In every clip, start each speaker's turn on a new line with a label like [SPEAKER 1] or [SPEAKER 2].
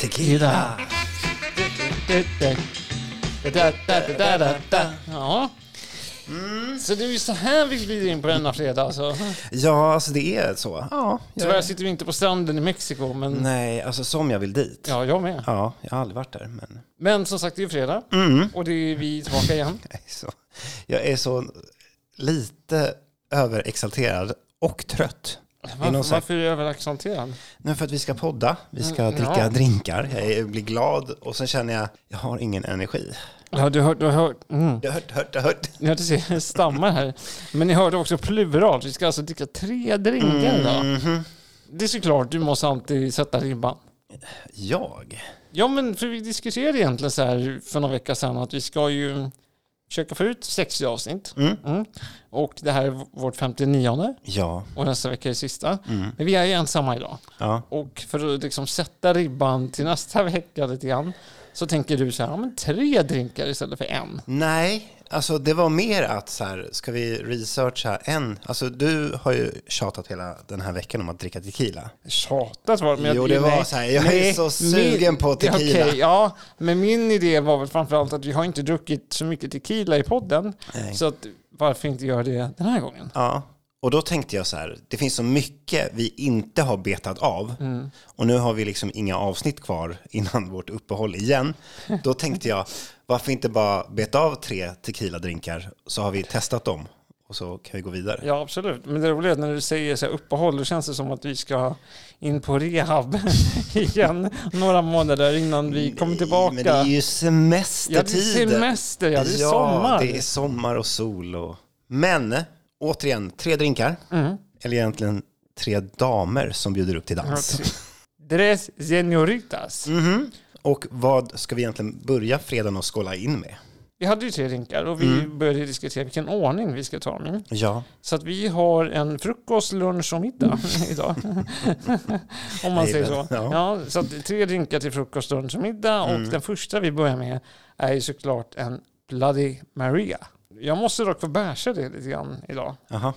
[SPEAKER 1] Tequila.
[SPEAKER 2] Ja. Så det är ju så här vi glider in på denna fredag. Alltså.
[SPEAKER 1] Ja, alltså det är så. Ja, jag-
[SPEAKER 2] Tyvärr sitter vi inte på stranden i Mexiko, men
[SPEAKER 1] Nej, alltså som jag vill dit.
[SPEAKER 2] ja, jag med.
[SPEAKER 1] Ja, jag har aldrig varit där, men...
[SPEAKER 2] Men som sagt, det är ju fredag och det är vi tillbaka igen.
[SPEAKER 1] Nej, så. Jag är så lite överexalterad och trött.
[SPEAKER 2] Varför,
[SPEAKER 1] någon sak-
[SPEAKER 2] varför är du överaccenterad?
[SPEAKER 1] Nu för att vi ska podda, vi ska
[SPEAKER 2] Mm,
[SPEAKER 1] dricka
[SPEAKER 2] ja.
[SPEAKER 1] drinkar, jag är- blir glad och sen känner jag, jag har ingen energi.
[SPEAKER 2] Ja, du har, du har hört... Mm.
[SPEAKER 1] Jag har hört, hört, jag har hört.
[SPEAKER 2] Ja, du ser, jag stammar här. Men ni hörde också plural. Vi ska alltså dricka tre drinkar idag. Det är såklart, du måste alltid sätta ribban.
[SPEAKER 1] Jag?
[SPEAKER 2] Ja, men för vi diskuterade egentligen så här för några veckor sedan att vi ska ju försöka få ut 60 avsnitt.
[SPEAKER 1] Mm.
[SPEAKER 2] Mm. Och det här är vårt 59
[SPEAKER 1] Ja.
[SPEAKER 2] och nästa vecka är det sista.
[SPEAKER 1] Mm.
[SPEAKER 2] Men vi är ju ensamma idag.
[SPEAKER 1] ja.
[SPEAKER 2] Och för att liksom sätta ribban till nästa vecka lite grann så tänker du så här, ja men tre drinkar istället för en.
[SPEAKER 1] Nej, alltså det var mer att så här, ska vi researcha en? Alltså du har ju tjatat hela den här veckan om att dricka tequila.
[SPEAKER 2] Tjatat var det, men
[SPEAKER 1] Jo,
[SPEAKER 2] jag,
[SPEAKER 1] det var
[SPEAKER 2] nej,
[SPEAKER 1] så här, jag är
[SPEAKER 2] nej,
[SPEAKER 1] så sugen på tequila.
[SPEAKER 2] okej, ja, men min idé var väl framförallt att vi har inte druckit så mycket tequila i podden.
[SPEAKER 1] Nej.
[SPEAKER 2] Så att, varför inte göra det den här gången?
[SPEAKER 1] Ja, och då tänkte jag så här, det finns så mycket vi inte har betat av
[SPEAKER 2] Mm.
[SPEAKER 1] och nu har vi liksom inga avsnitt kvar innan vårt uppehåll igen. Då tänkte jag, varför inte bara beta av tre tequila-drinkar så har vi testat dem och så kan vi gå vidare.
[SPEAKER 2] Ja, absolut. Men det roliga är att när du säger så här uppehåll, då känns det som att vi ska in på rehab igen några månader innan vi kommer tillbaka.
[SPEAKER 1] Men det är ju
[SPEAKER 2] ja, det är
[SPEAKER 1] semestertider.
[SPEAKER 2] semester, ja, det är
[SPEAKER 1] ja,
[SPEAKER 2] sommar.
[SPEAKER 1] det är sommar och sol. Och... Men återigen, tre drinkar.
[SPEAKER 2] Mm.
[SPEAKER 1] Eller egentligen tre damer som bjuder upp till dans.
[SPEAKER 2] Tres senoritas.
[SPEAKER 1] Mhm. Och vad ska vi egentligen börja fredagen och skåla in med?
[SPEAKER 2] Vi hade ju tre drinkar och vi
[SPEAKER 1] Mm.
[SPEAKER 2] började diskutera vilken ordning vi ska ta dem i.
[SPEAKER 1] Ja,
[SPEAKER 2] Så att vi har en frukost, lunch och middag idag. Om man
[SPEAKER 1] Mm. Nej,
[SPEAKER 2] säger
[SPEAKER 1] men,
[SPEAKER 2] så.
[SPEAKER 1] ja. Mm.
[SPEAKER 2] Ja, så att tre drinkar till frukost, lunch och middag. Och den första vi börjar med är ju såklart en Bloody Maria. Jag måste dock få bärsa det lite grann idag.
[SPEAKER 1] aha.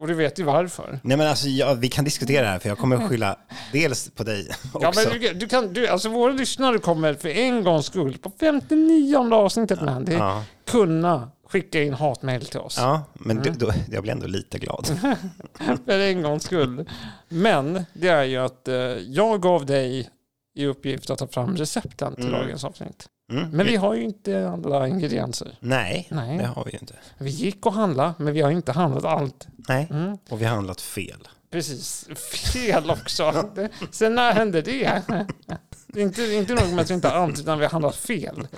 [SPEAKER 2] Och du vet ju varför.
[SPEAKER 1] Nej men alltså, ja, vi kan diskutera det här för jag kommer att skylla dels på dig också.
[SPEAKER 2] Ja, men du, du kan, du, alltså våra lyssnare kommer för en gångs skull på 59 avsnittet Mandy
[SPEAKER 1] ja,
[SPEAKER 2] kunna skicka in hatmejl till oss.
[SPEAKER 1] ja, men
[SPEAKER 2] Mm.
[SPEAKER 1] då, då, jag blir ändå lite glad.
[SPEAKER 2] För en gångs skull. Men det är ju att eh, jag gav dig i uppgift att ta fram recepten till
[SPEAKER 1] Mm.
[SPEAKER 2] dagens avsnitt.
[SPEAKER 1] Mm.
[SPEAKER 2] Men vi Mm. har ju inte alla ingredienser.
[SPEAKER 1] Nej,
[SPEAKER 2] Nej.
[SPEAKER 1] det har vi ju inte.
[SPEAKER 2] Vi gick och handlade, men vi har inte handlat allt.
[SPEAKER 1] Nej,
[SPEAKER 2] Mm.
[SPEAKER 1] och vi har handlat fel.
[SPEAKER 2] Precis. Fel också. Det- Sen när hände det? Det är Inte, inte nog med att vi inte har allt, utan vi har handlat fel.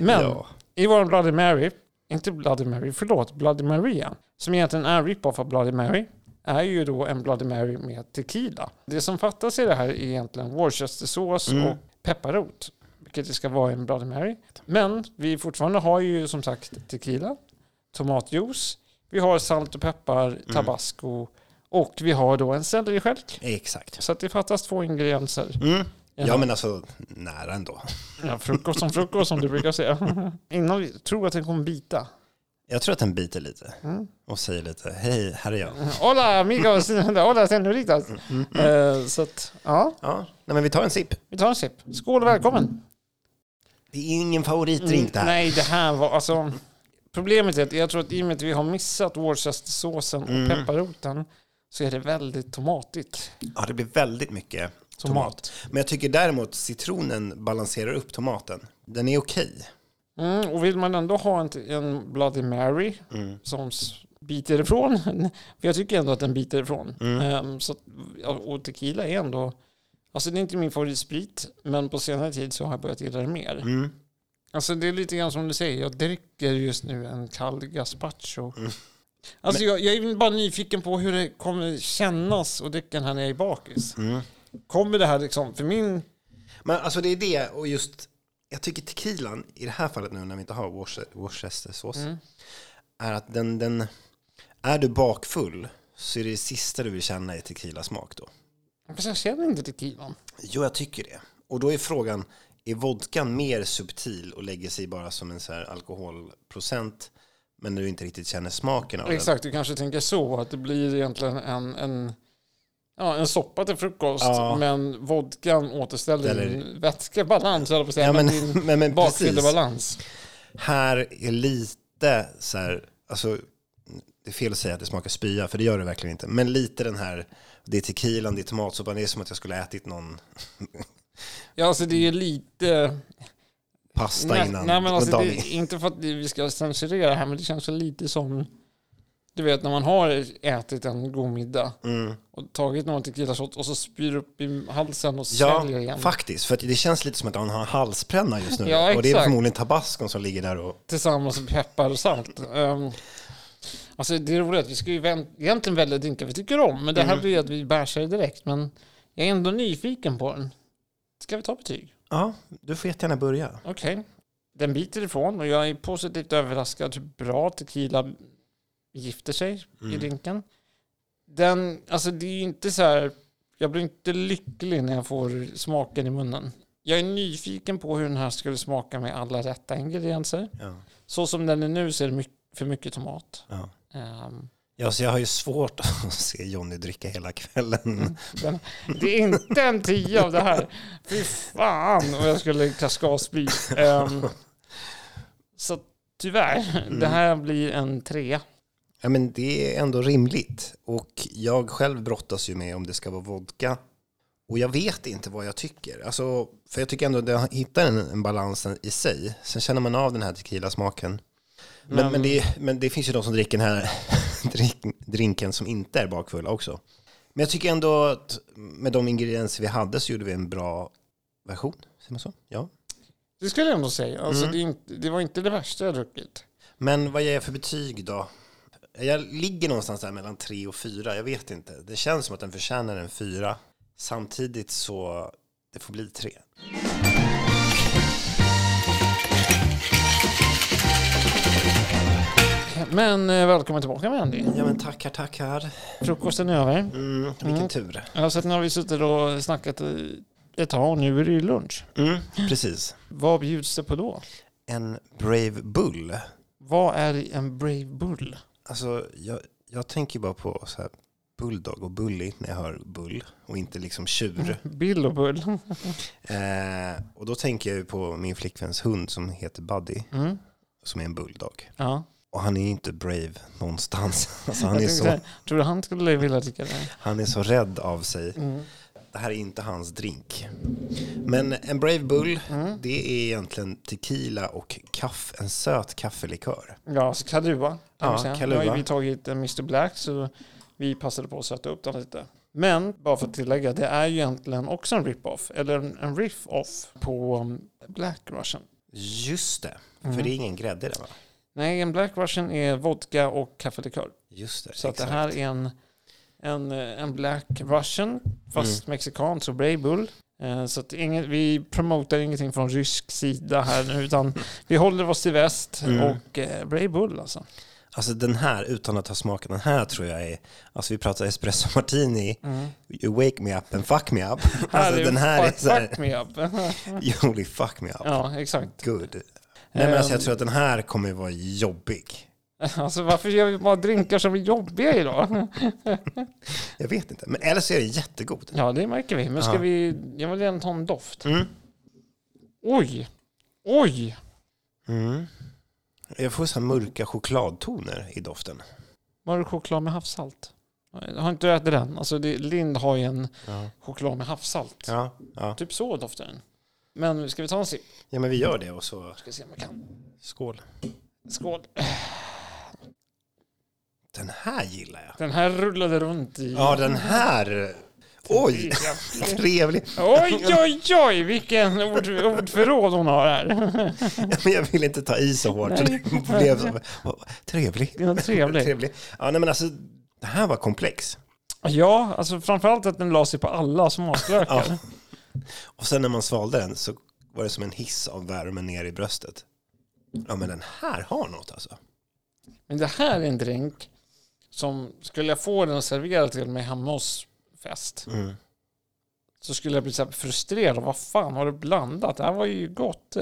[SPEAKER 2] Men
[SPEAKER 1] Ja.
[SPEAKER 2] i vår Bloody Mary, inte Bloody Mary, förlåt, Bloody Maria, som egentligen är en rip-off av Bloody Mary, är ju då en Bloody Mary med tequila. Det som fattas i det här är egentligen worcestersås
[SPEAKER 1] Mm.
[SPEAKER 2] och pepparrot, vilket det ska vara i en Bloody Mary. Men vi fortfarande har ju som sagt tequila, tomatjuice, vi har salt och peppar, tabasco och vi har då en selleristjälk.
[SPEAKER 1] Exakt.
[SPEAKER 2] Så att det fattas två ingredienser.
[SPEAKER 1] Mm.
[SPEAKER 2] Ja.
[SPEAKER 1] Ja men alltså, nära ändå.
[SPEAKER 2] Ja, frukost som frukost som du brukar säga. Innan vi tror att den kommer bita.
[SPEAKER 1] Jag tror att den biter lite
[SPEAKER 2] Mm.
[SPEAKER 1] och säger lite, hej, här är jag.
[SPEAKER 2] Hola amigos, hola senoritas. Eh, Så att, ja,
[SPEAKER 1] Ja, nej men vi tar en sipp.
[SPEAKER 2] vi tar en sipp. Skål och välkommen.
[SPEAKER 1] Det är ingen favoritdrink det här.
[SPEAKER 2] Mm, Nej, det här var alltså... Problemet är att jag tror att i och med att vi har missat worcestersåsen och
[SPEAKER 1] Mm.
[SPEAKER 2] pepparroten så är det väldigt tomatigt.
[SPEAKER 1] Ja, det blir väldigt mycket
[SPEAKER 2] Tomat.
[SPEAKER 1] Men jag tycker däremot citronen balanserar upp tomaten. Den är okej.
[SPEAKER 2] Mm, och vill man ändå ha en, en Bloody Mary som s- biter ifrån, för jag tycker ändå att den biter ifrån. Ehm, så, att- ja, och tequila är ändå... Alltså det är inte min favoritsprit, men på senare tid så har jag börjat gilla det mer.
[SPEAKER 1] Mm.
[SPEAKER 2] Alltså det är lite grann som du säger, jag dricker just nu en kall gazpacho.
[SPEAKER 1] Mm.
[SPEAKER 2] Alltså jag, jag är bara nyfiken på hur det kommer kännas att dricka den här när jag är bakis.
[SPEAKER 1] Mm.
[SPEAKER 2] Kommer det här liksom, för min...
[SPEAKER 1] Men alltså det är det och just, jag tycker tequilan i det här fallet nu när vi inte har Worce- worcestersås,
[SPEAKER 2] Mm.
[SPEAKER 1] är att den, den, är du bakfull så är det sista du vill känna är tequilasmak då.
[SPEAKER 2] Fast alltså, jag känner inte tequilan.
[SPEAKER 1] Jo, jag tycker det. Och då är frågan, är vodkan mer subtil och lägger sig bara som en så här alkoholprocent men du inte riktigt känner smaken av den?
[SPEAKER 2] Exakt, du kanske tänker så, att det blir egentligen en, en Ja, en soppa till frukost,
[SPEAKER 1] Ja.
[SPEAKER 2] men vodkan återställer
[SPEAKER 1] Eller-
[SPEAKER 2] din vätskebalans, höll jag på att säga.
[SPEAKER 1] Ja, men-
[SPEAKER 2] men din
[SPEAKER 1] men- men precis.
[SPEAKER 2] bakfyllebalans.
[SPEAKER 1] Här är lite så här, alltså det är fel att säga att det smakar spya, för det gör det verkligen inte. Men lite den här, det är tequilan, det är tomatsoppan, det är som att jag skulle ha ätit någon
[SPEAKER 2] Ja, alltså det är lite...
[SPEAKER 1] pasta
[SPEAKER 2] Nej,
[SPEAKER 1] innan.
[SPEAKER 2] nej, men alltså,
[SPEAKER 1] dagen
[SPEAKER 2] det, är inte för att vi ska censurera det här, men det känns väl lite som... Du vet när man har ätit en god middag
[SPEAKER 1] Mm.
[SPEAKER 2] och tagit någon tequilashot och så spyr upp i halsen och
[SPEAKER 1] Ja,
[SPEAKER 2] sväljer igen.
[SPEAKER 1] faktiskt. För att det känns lite som att han har en halsbränna just nu.
[SPEAKER 2] Ja,
[SPEAKER 1] och det är
[SPEAKER 2] exakt.
[SPEAKER 1] förmodligen tabascon som ligger där och...
[SPEAKER 2] Tillsammans med peppar och salt. Ehm, alltså det är roligt, att vi ska ju vänt, egentligen välja drinkar vi tycker om, men det
[SPEAKER 1] Mm.
[SPEAKER 2] här blir ju att vi bärsar det direkt. Men jag är ändå nyfiken på den. Ska vi ta betyg?
[SPEAKER 1] Ja, du får jättegärna börja.
[SPEAKER 2] Okej. Den biter ifrån och jag är positivt överraskad hur bra tequila gifter sig
[SPEAKER 1] Mm.
[SPEAKER 2] i drinken. Den, alltså det är ju inte så här, jag blir inte lycklig när jag får smaken i munnen. Jag är nyfiken på hur den här skulle smaka med alla rätta ingredienser.
[SPEAKER 1] Ja,
[SPEAKER 2] Så som den är nu så är det mycket, för mycket tomat.
[SPEAKER 1] ja.
[SPEAKER 2] Ehm,
[SPEAKER 1] Ja, så jag har ju svårt att se Jonny dricka hela kvällen.
[SPEAKER 2] den, det är inte en tio av det här. Fy fan om jag skulle klaska av spy. Ehm, så tyvärr, det här blir en trea.
[SPEAKER 1] Ja, men det är ändå rimligt. Och jag själv brottas ju med om det ska vara vodka. Och jag vet inte vad jag tycker. Alltså, för jag tycker ändå att jag hittar en, en balans i sig. Sen känner man av den här tequila-smaken. Men, men, det, men det finns ju de som dricker den här drink, drinken som inte är bakfulla också. Men jag tycker ändå att med de ingredienser vi hade så gjorde vi en bra version. Säger man så? Ja.
[SPEAKER 2] Det skulle jag ändå säga. Alltså, det, är inte, det var inte det värsta jag druckit.
[SPEAKER 1] Men vad ger jag för betyg då? Jag ligger någonstans där mellan tre och fyra. Jag vet inte. Det känns som att den förtjänar en fyra. Samtidigt så det får bli tre.
[SPEAKER 2] Men eh, välkommen tillbaka med Andy.
[SPEAKER 1] Ja men tackar, tackar.
[SPEAKER 2] Frukosten är över.
[SPEAKER 1] Mm, vilken tur.
[SPEAKER 2] Ja, så att nu har vi suttit och snackat eh, ett tag och nu är det ju lunch.
[SPEAKER 1] Mm, precis.
[SPEAKER 2] Vad bjuds det på då?
[SPEAKER 1] En Brave Bull.
[SPEAKER 2] Vad är en Brave Bull?
[SPEAKER 1] Alltså jag, jag tänker bara på så här bulldog och bully när jag hör bull och inte liksom tjur.
[SPEAKER 2] Bill och Bull. Mm.
[SPEAKER 1] Eh, och då tänker jag ju på min flickväns hund som heter Buddy
[SPEAKER 2] Mm.
[SPEAKER 1] som är en bulldog.
[SPEAKER 2] Ja.
[SPEAKER 1] Och han är ju inte brave någonstans. Alltså han, är
[SPEAKER 2] Jag tänkte
[SPEAKER 1] så,
[SPEAKER 2] säga, Tror du han skulle vilja dricka det?
[SPEAKER 1] han är så rädd av sig. Det här är inte hans drink. Men en Brave Bull,
[SPEAKER 2] Mm.
[SPEAKER 1] det är egentligen tequila och kaff, en söt kaffelikör.
[SPEAKER 2] Ja, så Kaluva. kan
[SPEAKER 1] Ja,
[SPEAKER 2] vi säga.
[SPEAKER 1] Kaluva.
[SPEAKER 2] Nu har ju vi tagit en Mr Black så vi passade på att sätta upp den lite. Men bara för att tillägga, det är ju egentligen också en rip-off, eller en, en riff-off på um, Black Russian.
[SPEAKER 1] Just det, för
[SPEAKER 2] Mm.
[SPEAKER 1] det är ingen grädde i den va?
[SPEAKER 2] Nej, en Black Russian är vodka och kaffelikör.
[SPEAKER 1] Just det,
[SPEAKER 2] Så att det
[SPEAKER 1] exakt.
[SPEAKER 2] här är en, en, eh, en Black Russian, fast
[SPEAKER 1] Mm.
[SPEAKER 2] mexikansk och Brave Bull. Eh, Så att inget, vi promotar ingenting från rysk sida här nu, utan vi håller oss till väst
[SPEAKER 1] Mm.
[SPEAKER 2] och eh, Brave Bull alltså.
[SPEAKER 1] Alltså den här, utan att ha smakat den här tror jag är, alltså vi pratar espresso martini, you wake me up and fuck me up. Alltså den här är
[SPEAKER 2] Mm. fuck,
[SPEAKER 1] så här,
[SPEAKER 2] fuck me up.
[SPEAKER 1] you only fuck me up.
[SPEAKER 2] ja, exakt.
[SPEAKER 1] Good. Nej men alltså jag
[SPEAKER 2] Ehm.
[SPEAKER 1] tror att den här kommer vara jobbig.
[SPEAKER 2] Alltså varför gör vi bara drinkar som är jobbiga idag?
[SPEAKER 1] Jag vet inte, men eller så är den jättegod.
[SPEAKER 2] Ja, det märker vi. Men ska
[SPEAKER 1] Ja.
[SPEAKER 2] vi... Jag vill gärna ta en doft.
[SPEAKER 1] Mm.
[SPEAKER 2] Oj! Oj!
[SPEAKER 1] Mm. Jag får så här mörka chokladtoner i doften.
[SPEAKER 2] Mörk choklad med havssalt. Jag har inte ätit den. Alltså det, Lind har ju en
[SPEAKER 1] Ja.
[SPEAKER 2] choklad med havssalt.
[SPEAKER 1] Ja, ja.
[SPEAKER 2] Typ så doftar den. Men ska vi ta en sipp?
[SPEAKER 1] ja, men vi gör det och så
[SPEAKER 2] Ska se om jag kan.
[SPEAKER 1] skål.
[SPEAKER 2] Skål.
[SPEAKER 1] Den här gillar jag.
[SPEAKER 2] Den här rullade runt i...
[SPEAKER 1] Ja, den här. Oj, trevlig.
[SPEAKER 2] Oj, oj, oj! Vilken ord, ordförråd hon har här.
[SPEAKER 1] Men jag vill inte ta i så hårt. så Det blev så. Åh, Trevlig.
[SPEAKER 2] Den är trevlig.
[SPEAKER 1] Trevlig. Ja, nej men alltså, det här var komplex.
[SPEAKER 2] Ja, alltså framförallt att den la sig på alla smaklökar.
[SPEAKER 1] Ja. Och sen när man svalde den så var det som en hiss av värmen ner i bröstet. Ja, men den här har något alltså.
[SPEAKER 2] Men det här är en drink som skulle jag få den serverad till mig hemma hos fest
[SPEAKER 1] Mm.
[SPEAKER 2] så skulle jag bli så här frustrerad. Vad fan har du blandat? Det här var ju gott.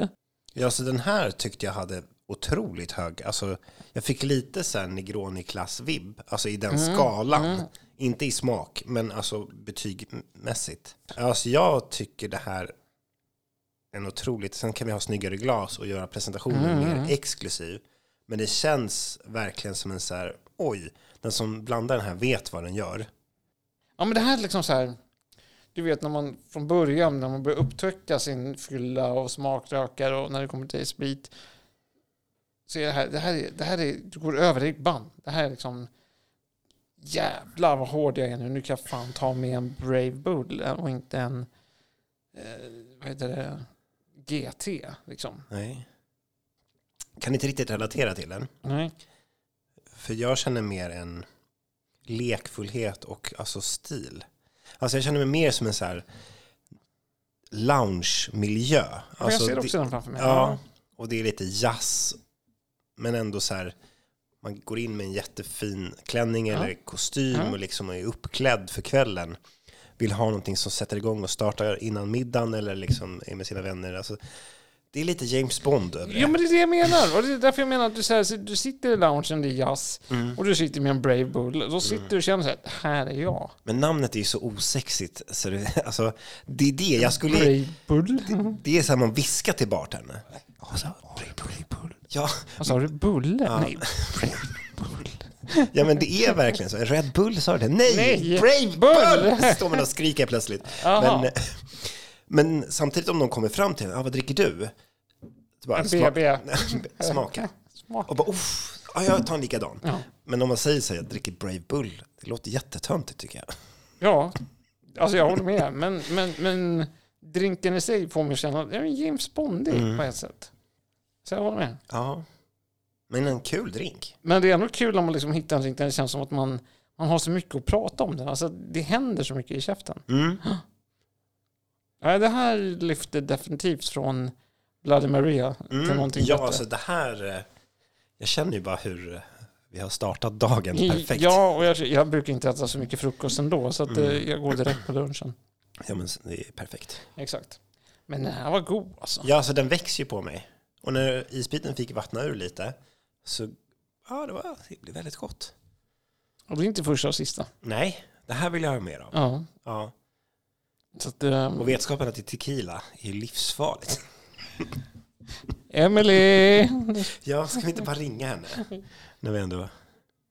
[SPEAKER 1] Ja, så den här tyckte jag hade otroligt
[SPEAKER 2] Mm,
[SPEAKER 1] hög, alltså jag fick lite så här Negroni-klass-vibb, alltså i den skalan. Inte i smak, men alltså betygmässigt. Alltså jag tycker det här är en otroligt... Sen kan vi ha snyggare glas och göra presentationen mer exklusiv. Men det känns verkligen som en så här, oj, den som blandar den här vet vad den gör.
[SPEAKER 2] Ja, men det här är liksom så här. Du vet när man från början, när man börjar upptäcka sin fylla och smakrökar och när det kommer till sprit. Så är det här, det här, är, det här är, du går över ribban. Det här är liksom, jävlar vad hård jag är nu. Nu kan jag fan ta med en Brave Bull och inte en, eh, vad heter det, GT liksom.
[SPEAKER 1] Nej. Kan inte riktigt relatera till den.
[SPEAKER 2] Nej.
[SPEAKER 1] För jag känner mer en lekfullhet och alltså stil. Alltså jag känner mig mer som en så här lounge-miljö.
[SPEAKER 2] Men jag
[SPEAKER 1] Alltså
[SPEAKER 2] ser
[SPEAKER 1] det-
[SPEAKER 2] också den framför mig.
[SPEAKER 1] Ja, och det är lite jazz. Men ändå så här, man går in med en jättefin klänning eller kostym och liksom är uppklädd för kvällen. Vill ha någonting som sätter igång och startar innan middagen eller liksom är med sina vänner. Alltså, det är lite James Bond över det.
[SPEAKER 2] Jo men det är det jag menar. Och det är därför jag menar att du, så här, du sitter i loungen, det är jazz,
[SPEAKER 1] Mm.
[SPEAKER 2] och du sitter med en Brave Bull. Då sitter du och känner så här, här är jag.
[SPEAKER 1] Men namnet är ju så osexigt. Så det, alltså, det är det jag skulle...
[SPEAKER 2] Brave Bull?
[SPEAKER 1] Det är så här man viskar till bartendern. Alltså, Bull. Ja,
[SPEAKER 2] Vad sa du? Bulle? Nej.
[SPEAKER 1] ja, men det är verkligen så. Red Bull sa du det? Nej,
[SPEAKER 2] Nej,
[SPEAKER 1] Brave
[SPEAKER 2] Bull!
[SPEAKER 1] Bull! Står man och skriker plötsligt.
[SPEAKER 2] Jaha.
[SPEAKER 1] Men, men samtidigt om någon kommer fram till en, ah, vad dricker du? Så bara,
[SPEAKER 2] En BB.
[SPEAKER 1] sma- smaka.
[SPEAKER 2] Smak.
[SPEAKER 1] Och bara, uff, ja, jag tar en likadan.
[SPEAKER 2] Ja.
[SPEAKER 1] Men om man säger så här, jag dricker Brave Bull, det låter jättetöntigt tycker jag.
[SPEAKER 2] Ja, alltså jag håller med. Men, men, men drinken i sig får mig att känna, jag är James Bondig på ett sätt. Så jag håller med.
[SPEAKER 1] Ja, men en kul drink.
[SPEAKER 2] Men det är ändå kul om man liksom hittar en drink där det känns som att man, man har så mycket att prata om den. Alltså det händer så mycket i käften.
[SPEAKER 1] Mm.
[SPEAKER 2] Nej, det här lyfter definitivt från Bloody Maria till någonting
[SPEAKER 1] ja,
[SPEAKER 2] bättre.
[SPEAKER 1] alltså det här... eh, Jag känner ju bara hur eh, vi har startat dagen perfekt.
[SPEAKER 2] Ja, och jag, jag brukar inte äta så mycket frukost ändå, så att, eh,
[SPEAKER 1] Mm.
[SPEAKER 2] jag går direkt på lunchen.
[SPEAKER 1] Ja, men det är perfekt.
[SPEAKER 2] Exakt. Men den här var god alltså.
[SPEAKER 1] Ja, alltså den växer ju på mig. Och när isbiten fick vattna ur lite så... Ja, det, var, det blev väldigt gott.
[SPEAKER 2] Och det är inte första och sista.
[SPEAKER 1] Nej, det här vill jag ha mer av.
[SPEAKER 2] Ja.
[SPEAKER 1] Ja.
[SPEAKER 2] Så att, eh,
[SPEAKER 1] Och vetskapen att det är tequila är ju livsfarligt.
[SPEAKER 2] Emily!
[SPEAKER 1] Ja, ska vi inte bara ringa henne? När vi ändå...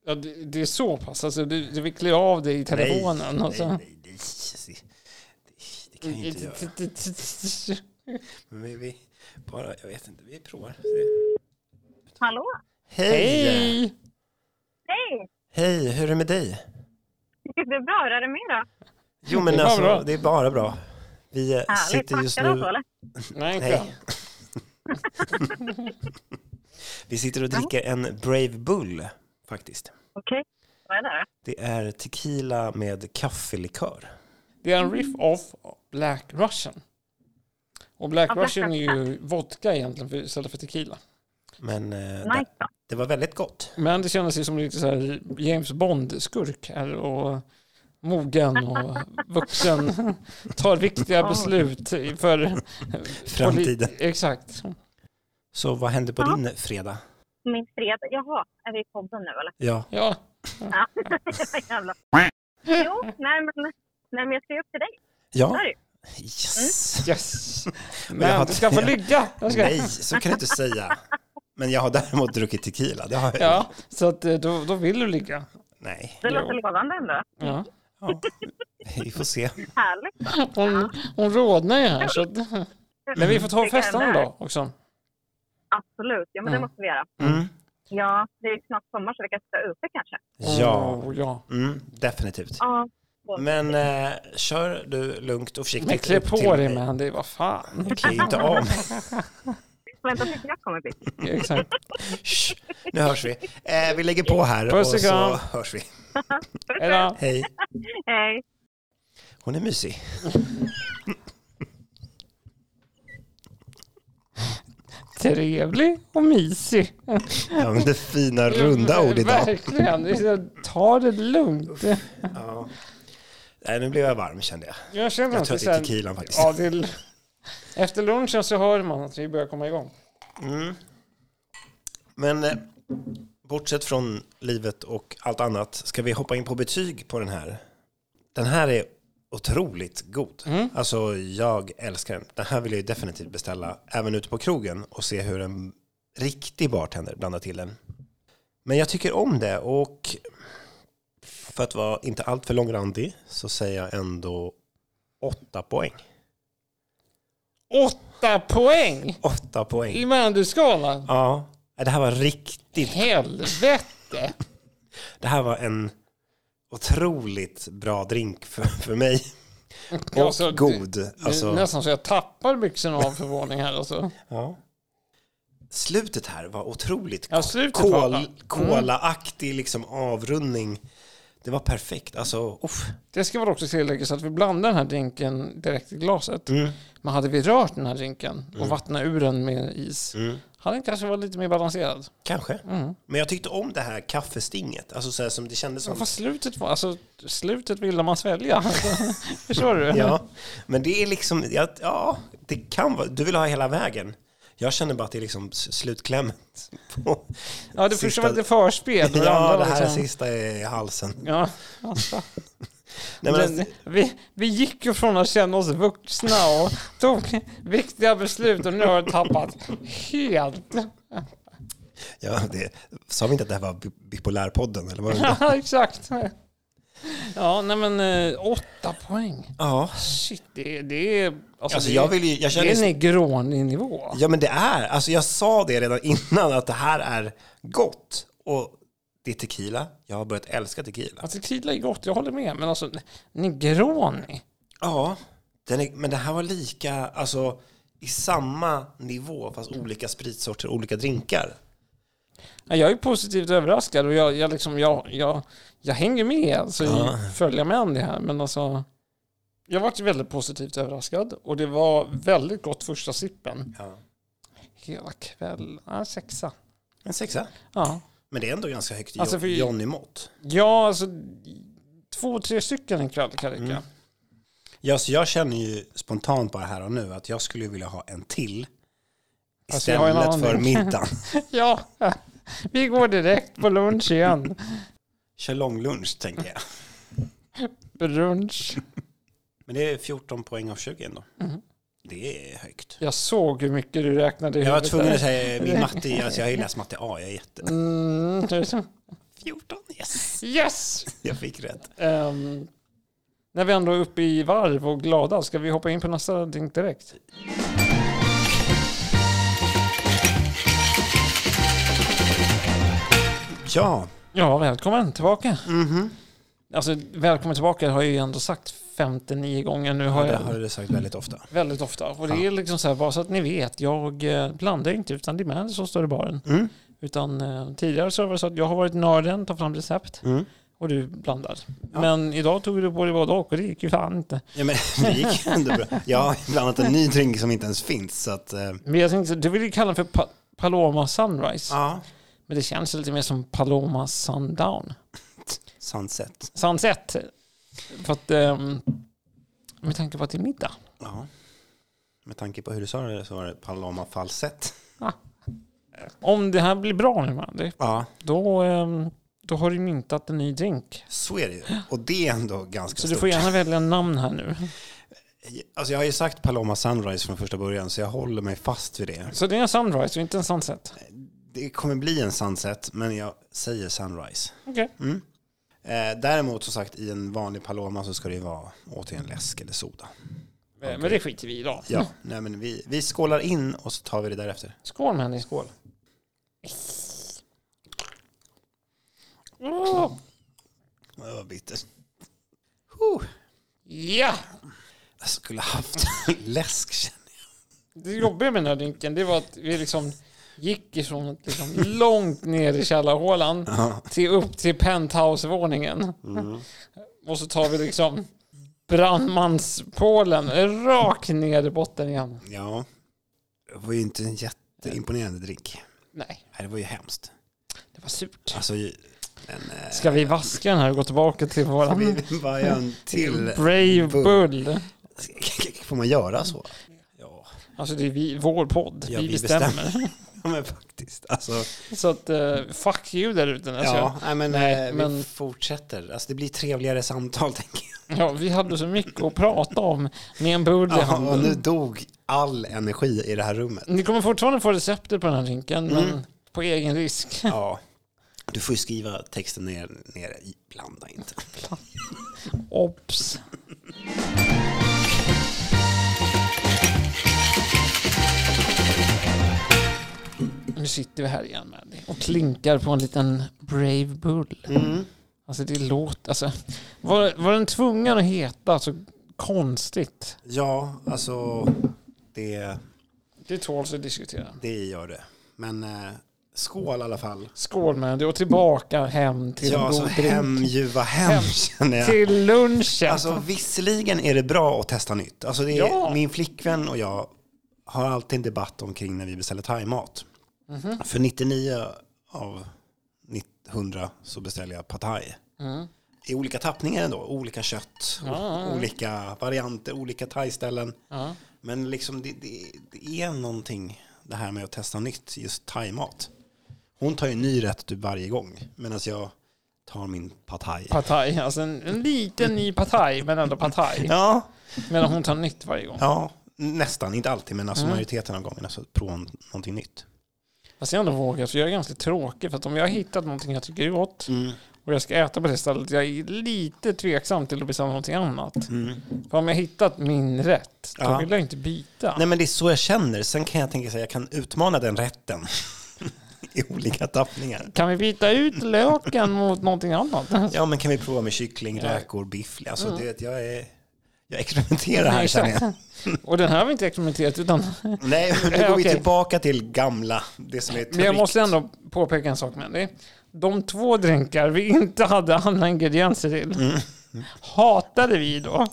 [SPEAKER 2] Ja, det, det är så pass, alltså, du, du vill klä av dig i telefonen. alltså.
[SPEAKER 1] nej,
[SPEAKER 2] och så.
[SPEAKER 1] nej, nej, nej. Det, det kan
[SPEAKER 2] Mm,
[SPEAKER 1] jag ju inte göra. Men vi, vi bara... Jag vet inte, vi provar.
[SPEAKER 3] Hallå?
[SPEAKER 1] Hej!
[SPEAKER 2] Hej!
[SPEAKER 3] Hej!
[SPEAKER 1] Hej, hur är det med dig?
[SPEAKER 3] Det är bra. Hur är det med då?
[SPEAKER 1] Jo men
[SPEAKER 2] Det är bara
[SPEAKER 1] alltså,
[SPEAKER 2] bra.
[SPEAKER 1] det är bara bra. Vi eh,
[SPEAKER 3] Härligt.
[SPEAKER 1] sitter just
[SPEAKER 3] Packad och så,
[SPEAKER 1] nu...
[SPEAKER 3] eller?
[SPEAKER 2] Nej, inte
[SPEAKER 1] Nej. Vi sitter och dricker en Brave Bull faktiskt.
[SPEAKER 3] Okej. Vad är det?
[SPEAKER 1] Det är tequila med kaffelikör.
[SPEAKER 2] Det är en riff-off av Black Russian. Och Black
[SPEAKER 3] Ja, Black
[SPEAKER 2] Russian är ju vodka egentligen för, istället för tequila.
[SPEAKER 1] Men eh,
[SPEAKER 3] då?
[SPEAKER 1] det,
[SPEAKER 3] Nice då.
[SPEAKER 1] det var väldigt gott.
[SPEAKER 2] Men det kändes ju som lite så här James Bond-skurk här och mogen och vuxen. Tar viktiga beslut för
[SPEAKER 1] Framtiden.
[SPEAKER 2] Exakt.
[SPEAKER 1] Så vad hände på
[SPEAKER 3] Ja.
[SPEAKER 1] din fredag?
[SPEAKER 3] Min fredag. Jaha, är vi i podden nu eller?
[SPEAKER 1] Ja.
[SPEAKER 2] Ja,
[SPEAKER 3] Ja. Jävlar. Jo, nej men, nej men jag ska ju upp till dig.
[SPEAKER 1] Ja.
[SPEAKER 3] Där är du.
[SPEAKER 1] Yes.
[SPEAKER 2] yes.
[SPEAKER 1] jag har
[SPEAKER 2] Men du ska få
[SPEAKER 1] tre-
[SPEAKER 2] ligga. Jag ska.
[SPEAKER 1] Nej, så kan du inte säga. Men jag har däremot druckit tequila. Det har jag.
[SPEAKER 2] Ja, så att eh, då, då vill du ligga.
[SPEAKER 1] Nej.
[SPEAKER 3] Det
[SPEAKER 2] Jo.
[SPEAKER 3] låter lovande ändå.
[SPEAKER 2] Ja.
[SPEAKER 1] Ja. Vi får se.
[SPEAKER 3] Härligt.
[SPEAKER 2] Hon, hon rodnar ju här. Så att, men vi får ta
[SPEAKER 3] Det kan
[SPEAKER 2] festan
[SPEAKER 3] hända.
[SPEAKER 2] idag också.
[SPEAKER 3] Absolut. Ja men det
[SPEAKER 2] Mm.
[SPEAKER 3] måste vi göra.
[SPEAKER 1] Mm.
[SPEAKER 3] Ja, det är ju snart sommar så vi kan sitta ute kanske.
[SPEAKER 1] Ja,
[SPEAKER 2] Oh, ja.
[SPEAKER 1] mm, definitivt.
[SPEAKER 3] Ja.
[SPEAKER 1] Men eh, kör du lugnt och
[SPEAKER 2] Men
[SPEAKER 1] försiktigt
[SPEAKER 2] klä
[SPEAKER 1] upp till
[SPEAKER 2] på dig
[SPEAKER 1] mig.
[SPEAKER 2] Mandy, vad fan.
[SPEAKER 1] Jag klär ju inte av mig.
[SPEAKER 3] Vänta tills jag kommer dit.
[SPEAKER 2] Exakt.
[SPEAKER 1] Shh, nu hörs vi. Eh, vi lägger på här
[SPEAKER 2] Puss och
[SPEAKER 1] och så
[SPEAKER 2] kram.
[SPEAKER 1] hörs vi.
[SPEAKER 2] Hej då.
[SPEAKER 1] Hej.
[SPEAKER 3] Hej.
[SPEAKER 1] Hon är mysig.
[SPEAKER 2] Trevlig och mysig.
[SPEAKER 1] Använder fina runda ord idag.
[SPEAKER 2] Verkligen. Det är så här, Ta det lugnt.
[SPEAKER 1] Ja. Nej, nu blev jag varm kände jag.
[SPEAKER 2] Jag känner
[SPEAKER 1] Jag
[SPEAKER 2] att
[SPEAKER 1] tror
[SPEAKER 2] det är
[SPEAKER 1] att
[SPEAKER 2] så
[SPEAKER 1] det är
[SPEAKER 2] här,
[SPEAKER 1] tequilan faktiskt.
[SPEAKER 2] ja, det är, Efter lunchen så hör man att vi börjar komma igång.
[SPEAKER 1] Men eh, bortsett från livet och allt annat, ska vi hoppa in på betyg på den här? Den här är otroligt god. Alltså, jag älskar den. Den här vill jag ju definitivt beställa, även ute på krogen, och se hur en riktig bartender blandar till den. Men jag tycker om det, och för att vara inte alltför långrandig så säger jag ändå åtta poäng.
[SPEAKER 2] Åtta poäng
[SPEAKER 1] Åtta
[SPEAKER 2] i
[SPEAKER 1] poäng.
[SPEAKER 2] Mandyskalan.
[SPEAKER 1] Ja, det här var riktigt
[SPEAKER 2] Helvete!
[SPEAKER 1] Det här var en otroligt bra drink för, för mig. Och
[SPEAKER 2] Alltså, det-
[SPEAKER 1] god.
[SPEAKER 2] Det är
[SPEAKER 1] alltså,
[SPEAKER 2] nästan så jag tappar byxorna av förvåning här. Alltså.
[SPEAKER 1] ja. Slutet här var otroligt
[SPEAKER 2] Ja, slutet var bra.
[SPEAKER 1] kol,
[SPEAKER 2] Mm.
[SPEAKER 1] kolaaktig liksom avrundning. Det var perfekt. Alltså, uff.
[SPEAKER 2] Det ska väl också tilläggas att vi blandade den här drinken direkt i glaset. Men hade vi rört den här drinken och vattnat ur den med is hade den kanske varit lite mer balanserad.
[SPEAKER 1] Kanske.
[SPEAKER 2] Mm.
[SPEAKER 1] Men jag tyckte om det här kaffestinget. Alltså så här som det kändes som.
[SPEAKER 2] Vad slutet var, alltså slutet ville man svälja. Alltså, Förstår du?
[SPEAKER 1] Ja, men det är liksom, ja, ja, det kan vara, du vill ha hela vägen. Jag känner bara att det är liksom s- slutklämmen. på
[SPEAKER 2] ja det
[SPEAKER 1] sista-
[SPEAKER 2] första var lite förspel. och
[SPEAKER 1] Ja,
[SPEAKER 2] andra
[SPEAKER 1] det
[SPEAKER 2] var
[SPEAKER 1] här
[SPEAKER 2] liksom-
[SPEAKER 1] sista är i halsen.
[SPEAKER 2] Ja, alltså.
[SPEAKER 1] Nej, men
[SPEAKER 2] Den-
[SPEAKER 1] alltså,
[SPEAKER 2] vi, vi gick ju från att känna oss vuxna och tog viktiga beslut och nu har vi tappat helt.
[SPEAKER 1] ja, det, sa vi inte att det här var bi- bipolärpodden? Eller vad var det?
[SPEAKER 2] Ja, exakt. Ja, nej men eh, åtta poäng.
[SPEAKER 1] ja.
[SPEAKER 2] Shit, det, det är... Alltså,
[SPEAKER 1] Alltså,
[SPEAKER 2] det,
[SPEAKER 1] jag vill ju, jag
[SPEAKER 2] det är
[SPEAKER 1] känner,
[SPEAKER 2] Negroni-nivå.
[SPEAKER 1] ja, men det är, alltså jag sa det redan innan att det här är gott. Och det är tequila. Jag har börjat älska tequila.
[SPEAKER 2] Alltså tequila är gott, jag håller med. Men alltså Negroni.
[SPEAKER 1] Ja, den är, men det här var lika, alltså i samma nivå fast olika spritsorter, olika drinkar.
[SPEAKER 2] Ja, Jag är positivt överraskad och jag, jag, liksom, jag, jag, jag hänger med alltså,
[SPEAKER 1] Ja.
[SPEAKER 2] i följa med om det här. Men alltså, jag varit väldigt positivt överraskad och det var väldigt gott första sippen.
[SPEAKER 1] Ja.
[SPEAKER 2] Hela kvällen, ja, sexa.
[SPEAKER 1] En sexa.
[SPEAKER 2] Ja.
[SPEAKER 1] Men det är ändå ganska högt
[SPEAKER 2] Alltså, för-
[SPEAKER 1] i Johnny-mått.
[SPEAKER 2] ja, alltså två, tre stycken ikväll kan räcka.
[SPEAKER 1] Mm. Ja, så jag känner ju spontant bara här och nu att jag skulle vilja ha en till
[SPEAKER 2] Alltså, jag har en
[SPEAKER 1] istället
[SPEAKER 2] annan
[SPEAKER 1] för
[SPEAKER 2] drink.
[SPEAKER 1] middagen.
[SPEAKER 2] Ja, vi går direkt på lunch igen.
[SPEAKER 1] Kör långlunch tänker jag.
[SPEAKER 2] Brunch.
[SPEAKER 1] Men det är 14 poäng av 20 ändå. Det är högt.
[SPEAKER 2] Jag såg hur mycket du räknade i
[SPEAKER 1] Jag var
[SPEAKER 2] huvudet
[SPEAKER 1] tvungen
[SPEAKER 2] där.
[SPEAKER 1] att säga min matte, alltså jag har ju läst matte A, jag är jätte...
[SPEAKER 2] Mm, det är så.
[SPEAKER 1] 14, yes!
[SPEAKER 2] yes!
[SPEAKER 1] Jag fick rätt.
[SPEAKER 2] Ehm, när vi ändå är uppe i varv och glada, ska vi hoppa in på nästa drink direkt?
[SPEAKER 1] Ja,
[SPEAKER 2] Ja, välkommen tillbaka.
[SPEAKER 1] Mhm.
[SPEAKER 2] Alltså, välkommen tillbaka har jag ju ändå sagt 59 gånger nu. Har
[SPEAKER 1] det
[SPEAKER 2] jag
[SPEAKER 1] har du sagt väldigt ofta.
[SPEAKER 2] Väldigt ofta. Och det är liksom så här, bara så att ni vet, jag eh, blandar inte utan det är Mandy som står i baren.
[SPEAKER 1] Mm.
[SPEAKER 2] Utan eh, tidigare så var det så att jag har varit nörden, tar fram recept
[SPEAKER 1] Mm.
[SPEAKER 2] och du blandar. Men idag tog du på dig både och och det gick ju fan inte.
[SPEAKER 1] Ja, men det gick ju ändå bra. Jag har blandat en ny drink som inte ens finns, så att... eh,
[SPEAKER 2] Men jag tänkte, du ville ju kalla den för pa- Paloma Sunrise.
[SPEAKER 1] Ja,
[SPEAKER 2] Men det känns lite mer som Paloma Sundown.
[SPEAKER 1] sunset.
[SPEAKER 2] Sunset. För att, ehm, med tanke på att det är middag.
[SPEAKER 1] Ja. Med tanke på hur du sa det så var det Paloma falsett.
[SPEAKER 2] Om det här blir bra nu Mandy,
[SPEAKER 1] Ja,
[SPEAKER 2] då, ehm, då har du myntat en ny drink.
[SPEAKER 1] så är det ju. Och det är ändå ganska
[SPEAKER 2] Så
[SPEAKER 1] stort.
[SPEAKER 2] du får gärna välja en namn här nu.
[SPEAKER 1] Alltså jag har ju sagt Paloma Sunrise från första början så jag håller mig fast vid det.
[SPEAKER 2] Så det är en sunrise och inte en sunset?
[SPEAKER 1] Det kommer bli en sunset men jag säger sunrise.
[SPEAKER 2] Okej.
[SPEAKER 1] Eh, däremot som sagt i en vanlig Paloma så ska det ju vara återigen läsk eller soda.
[SPEAKER 2] Eh, Men det skiter vi i idag.
[SPEAKER 1] Ja, nej men vi, vi skålar in och så tar vi det därefter.
[SPEAKER 2] Skål med henne.
[SPEAKER 1] Skål.
[SPEAKER 2] Åh,
[SPEAKER 1] Det var bittert. Huh.
[SPEAKER 2] Ja!
[SPEAKER 1] Jag skulle haft läsk känner jag.
[SPEAKER 2] Det jobbiga med den här drinken det var att vi liksom gick ifrån att liksom långt ner i källarhålan till upp till penthousevåningen. Och så tar vi liksom brandmanspålen rakt ner i botten igen.
[SPEAKER 1] Ja, det var ju inte en jätteimponerande drink.
[SPEAKER 2] Nej,
[SPEAKER 1] Nej, det var ju hemskt.
[SPEAKER 2] det var surt.
[SPEAKER 1] Alltså, ju- men... Eh,
[SPEAKER 2] Ska vi vaska den här och gå tillbaka till våran
[SPEAKER 1] vi bara göra en till...
[SPEAKER 2] Brave Bull?
[SPEAKER 1] Får man göra så? Ja.
[SPEAKER 2] Alltså det är vi, vår podd.
[SPEAKER 1] Ja,
[SPEAKER 2] vi,
[SPEAKER 1] vi
[SPEAKER 2] bestämmer.
[SPEAKER 1] men faktiskt. Alltså,
[SPEAKER 2] Så att, eh, fuck you där ute. Alltså,
[SPEAKER 1] ja, nej, men,
[SPEAKER 2] nej,
[SPEAKER 1] eh, vi
[SPEAKER 2] men-
[SPEAKER 1] fortsätter. Alltså, det blir trevligare samtal, tänker jag.
[SPEAKER 2] Ja, vi hade så mycket att prata om med en bull i
[SPEAKER 1] Ja, och
[SPEAKER 2] handen.
[SPEAKER 1] nu dog all energi i det här rummet.
[SPEAKER 2] Ni kommer fortfarande få receptet på den här drinken,
[SPEAKER 1] Mm.
[SPEAKER 2] men på egen risk.
[SPEAKER 1] Ja. Du får ju skriva texten ner, nere i. Blanda inte.
[SPEAKER 2] Ops. Nu sitter vi här igen Mandy och klinkar på en liten Brave Bull.
[SPEAKER 1] Mm.
[SPEAKER 2] Alltså det låter... Alltså, var, var den tvungen att heta så konstigt?
[SPEAKER 1] Ja, alltså det,
[SPEAKER 2] Det tåls att diskutera.
[SPEAKER 1] det gör det. Men eh, skål i alla fall.
[SPEAKER 2] Skål Mandy och tillbaka hem till
[SPEAKER 1] Ja,
[SPEAKER 2] en
[SPEAKER 1] alltså
[SPEAKER 2] god drink.
[SPEAKER 1] hem, ljuva hem,
[SPEAKER 2] Hem.
[SPEAKER 1] känner jag.
[SPEAKER 2] Till lunchen.
[SPEAKER 1] Alltså visserligen är det bra att testa nytt. Alltså det är,
[SPEAKER 2] Ja.
[SPEAKER 1] Min flickvän och jag har alltid en debatt omkring när vi beställer thaimat.
[SPEAKER 2] Mhm.
[SPEAKER 1] För 99 av 100 så beställer jag pad thai.
[SPEAKER 2] Mm.
[SPEAKER 1] I olika tappningar ändå, olika kött, olika varianter, olika thaiställen.
[SPEAKER 2] Ja.
[SPEAKER 1] Men liksom det, det, det är någonting det här med att testa nytt, just thaimat. Hon tar ju en ny rätt typ varje gång, medan jag tar min pad thai.
[SPEAKER 2] Pad thai. Alltså en, en liten ny pad thai, men ändå pad thai.
[SPEAKER 1] Ja,
[SPEAKER 2] Medan hon tar nytt varje gång.
[SPEAKER 1] Ja, nästan. Inte alltid, men
[SPEAKER 2] Mm.
[SPEAKER 1] alltså majoriteten av gångerna så provar hon någonting nytt.
[SPEAKER 2] Fast jag har ändå vågat, för jag är ganska tråkig. För att om jag har hittat någonting jag tycker är gott
[SPEAKER 1] Mm.
[SPEAKER 2] och jag ska äta på det stället, jag är lite tveksam till att bestämma någonting annat. För om jag hittat min rätt, då
[SPEAKER 1] Mm. Ja.
[SPEAKER 2] vill jag inte byta.
[SPEAKER 1] Nej, men det är så jag känner. Sen kan jag tänka att jag kan utmana den rätten i olika tappningar.
[SPEAKER 2] Kan vi byta ut löken mot någonting annat?
[SPEAKER 1] Ja, men kan vi prova med kyckling, räkor, biff? Alltså,
[SPEAKER 2] Mm.
[SPEAKER 1] du vet, jag, är, jag experimenterar här, känner jag.
[SPEAKER 2] Och den här har vi inte experimenterat utan...
[SPEAKER 1] Nej, nu
[SPEAKER 2] Eh,
[SPEAKER 1] går vi
[SPEAKER 2] okej.
[SPEAKER 1] tillbaka till gamla, det som är tryggt.
[SPEAKER 2] Men jag måste ändå påpeka en sak Mandy. De två drinkar vi inte hade andra ingredienser till
[SPEAKER 1] Mm.
[SPEAKER 2] hatade vi då.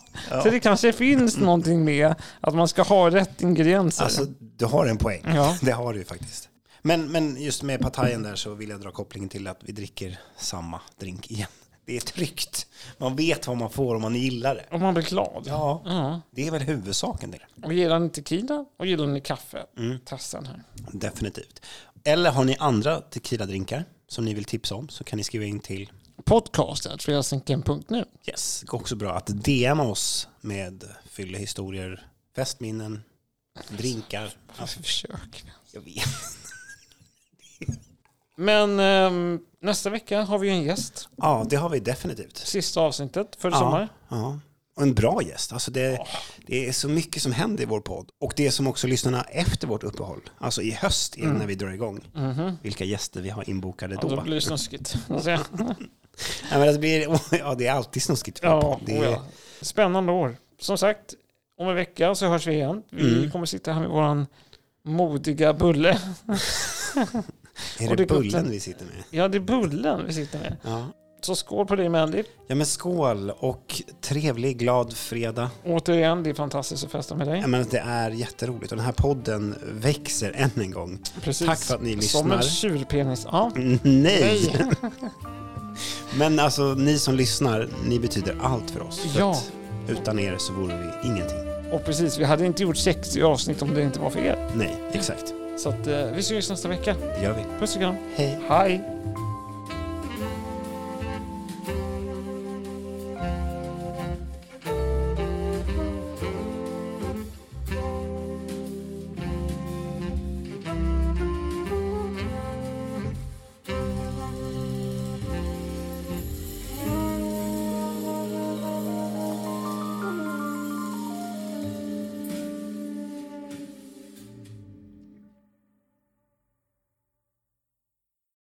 [SPEAKER 2] Så det kanske finns någonting med att man ska ha rätt ingredienser.
[SPEAKER 1] Alltså, du har en poäng.
[SPEAKER 2] Ja.
[SPEAKER 1] Det har du ju faktiskt. Men, men just med partajen där så vill jag dra kopplingen till att vi dricker samma drink igen. Det är tryggt. Man vet vad man får om man gillar det.
[SPEAKER 2] Om man blir glad.
[SPEAKER 1] Ja,
[SPEAKER 2] Ja.
[SPEAKER 1] det är väl huvudsaken det.
[SPEAKER 2] Och gillar ni tequila och gillar ni kaffe?
[SPEAKER 1] Mm.
[SPEAKER 2] Tassan här.
[SPEAKER 1] Definitivt. Eller har ni andra tequila-drinkar som ni vill tipsa om så kan ni skriva in till
[SPEAKER 2] Podcasten, fredagsdrinken.nu.
[SPEAKER 1] Yes. Det går också bra att DMa oss med fyllehistorier, festminnen, drinkar.
[SPEAKER 2] Varför Alltså, försök?
[SPEAKER 1] Jag vet.
[SPEAKER 2] Men ehm, nästa vecka har vi en gäst.
[SPEAKER 1] Ja, det har vi definitivt.
[SPEAKER 2] Sista avsnittet för
[SPEAKER 1] Ja,
[SPEAKER 2] sommar.
[SPEAKER 1] Ja. Och en bra gäst. Alltså det, det är så mycket som händer i vår podd. Och det som också lyssnarna efter vårt uppehåll, alltså i höst igen när vi drar igång, vilka gäster vi har inbokade
[SPEAKER 2] Mm. Mhm. Ja,
[SPEAKER 1] då.
[SPEAKER 2] då blir det snuskigt. Alltså, ja.
[SPEAKER 1] ja, men alltså, det, blir, ja, det är alltid snuskigt.
[SPEAKER 2] Ja,
[SPEAKER 1] det,
[SPEAKER 2] oh ja. Spännande år. Som sagt, om en vecka så hörs vi igen. Vi
[SPEAKER 1] Mm.
[SPEAKER 2] kommer sitta här med våran modiga bulle.
[SPEAKER 1] Är
[SPEAKER 2] Och
[SPEAKER 1] det
[SPEAKER 2] det går
[SPEAKER 1] bullen
[SPEAKER 2] till-
[SPEAKER 1] vi sitter med?
[SPEAKER 2] Ja, det är bullen vi sitter med.
[SPEAKER 1] Ja.
[SPEAKER 2] Så skål på dig Mandy.
[SPEAKER 1] ja, men skål och trevlig, glad fredag.
[SPEAKER 2] Återigen, det är fantastiskt att festa med dig.
[SPEAKER 1] Ja, men det är jätteroligt och den här podden växer än en gång.
[SPEAKER 2] Precis.
[SPEAKER 1] Tack för att ni
[SPEAKER 2] Som
[SPEAKER 1] lyssnar.
[SPEAKER 2] en tjurpenis. Ja.
[SPEAKER 1] Nej!
[SPEAKER 2] Nej.
[SPEAKER 1] Men alltså ni som lyssnar, ni betyder allt för oss. För
[SPEAKER 2] Ja.
[SPEAKER 1] att utan er så vore vi ingenting.
[SPEAKER 2] Och precis, vi hade inte gjort 60 avsnitt om det inte var för er.
[SPEAKER 1] Nej, exakt.
[SPEAKER 2] Så att, eh, vi ses nästa vecka.
[SPEAKER 1] Det gör vi.
[SPEAKER 2] Puss och kram.
[SPEAKER 1] Hej.
[SPEAKER 2] Hej!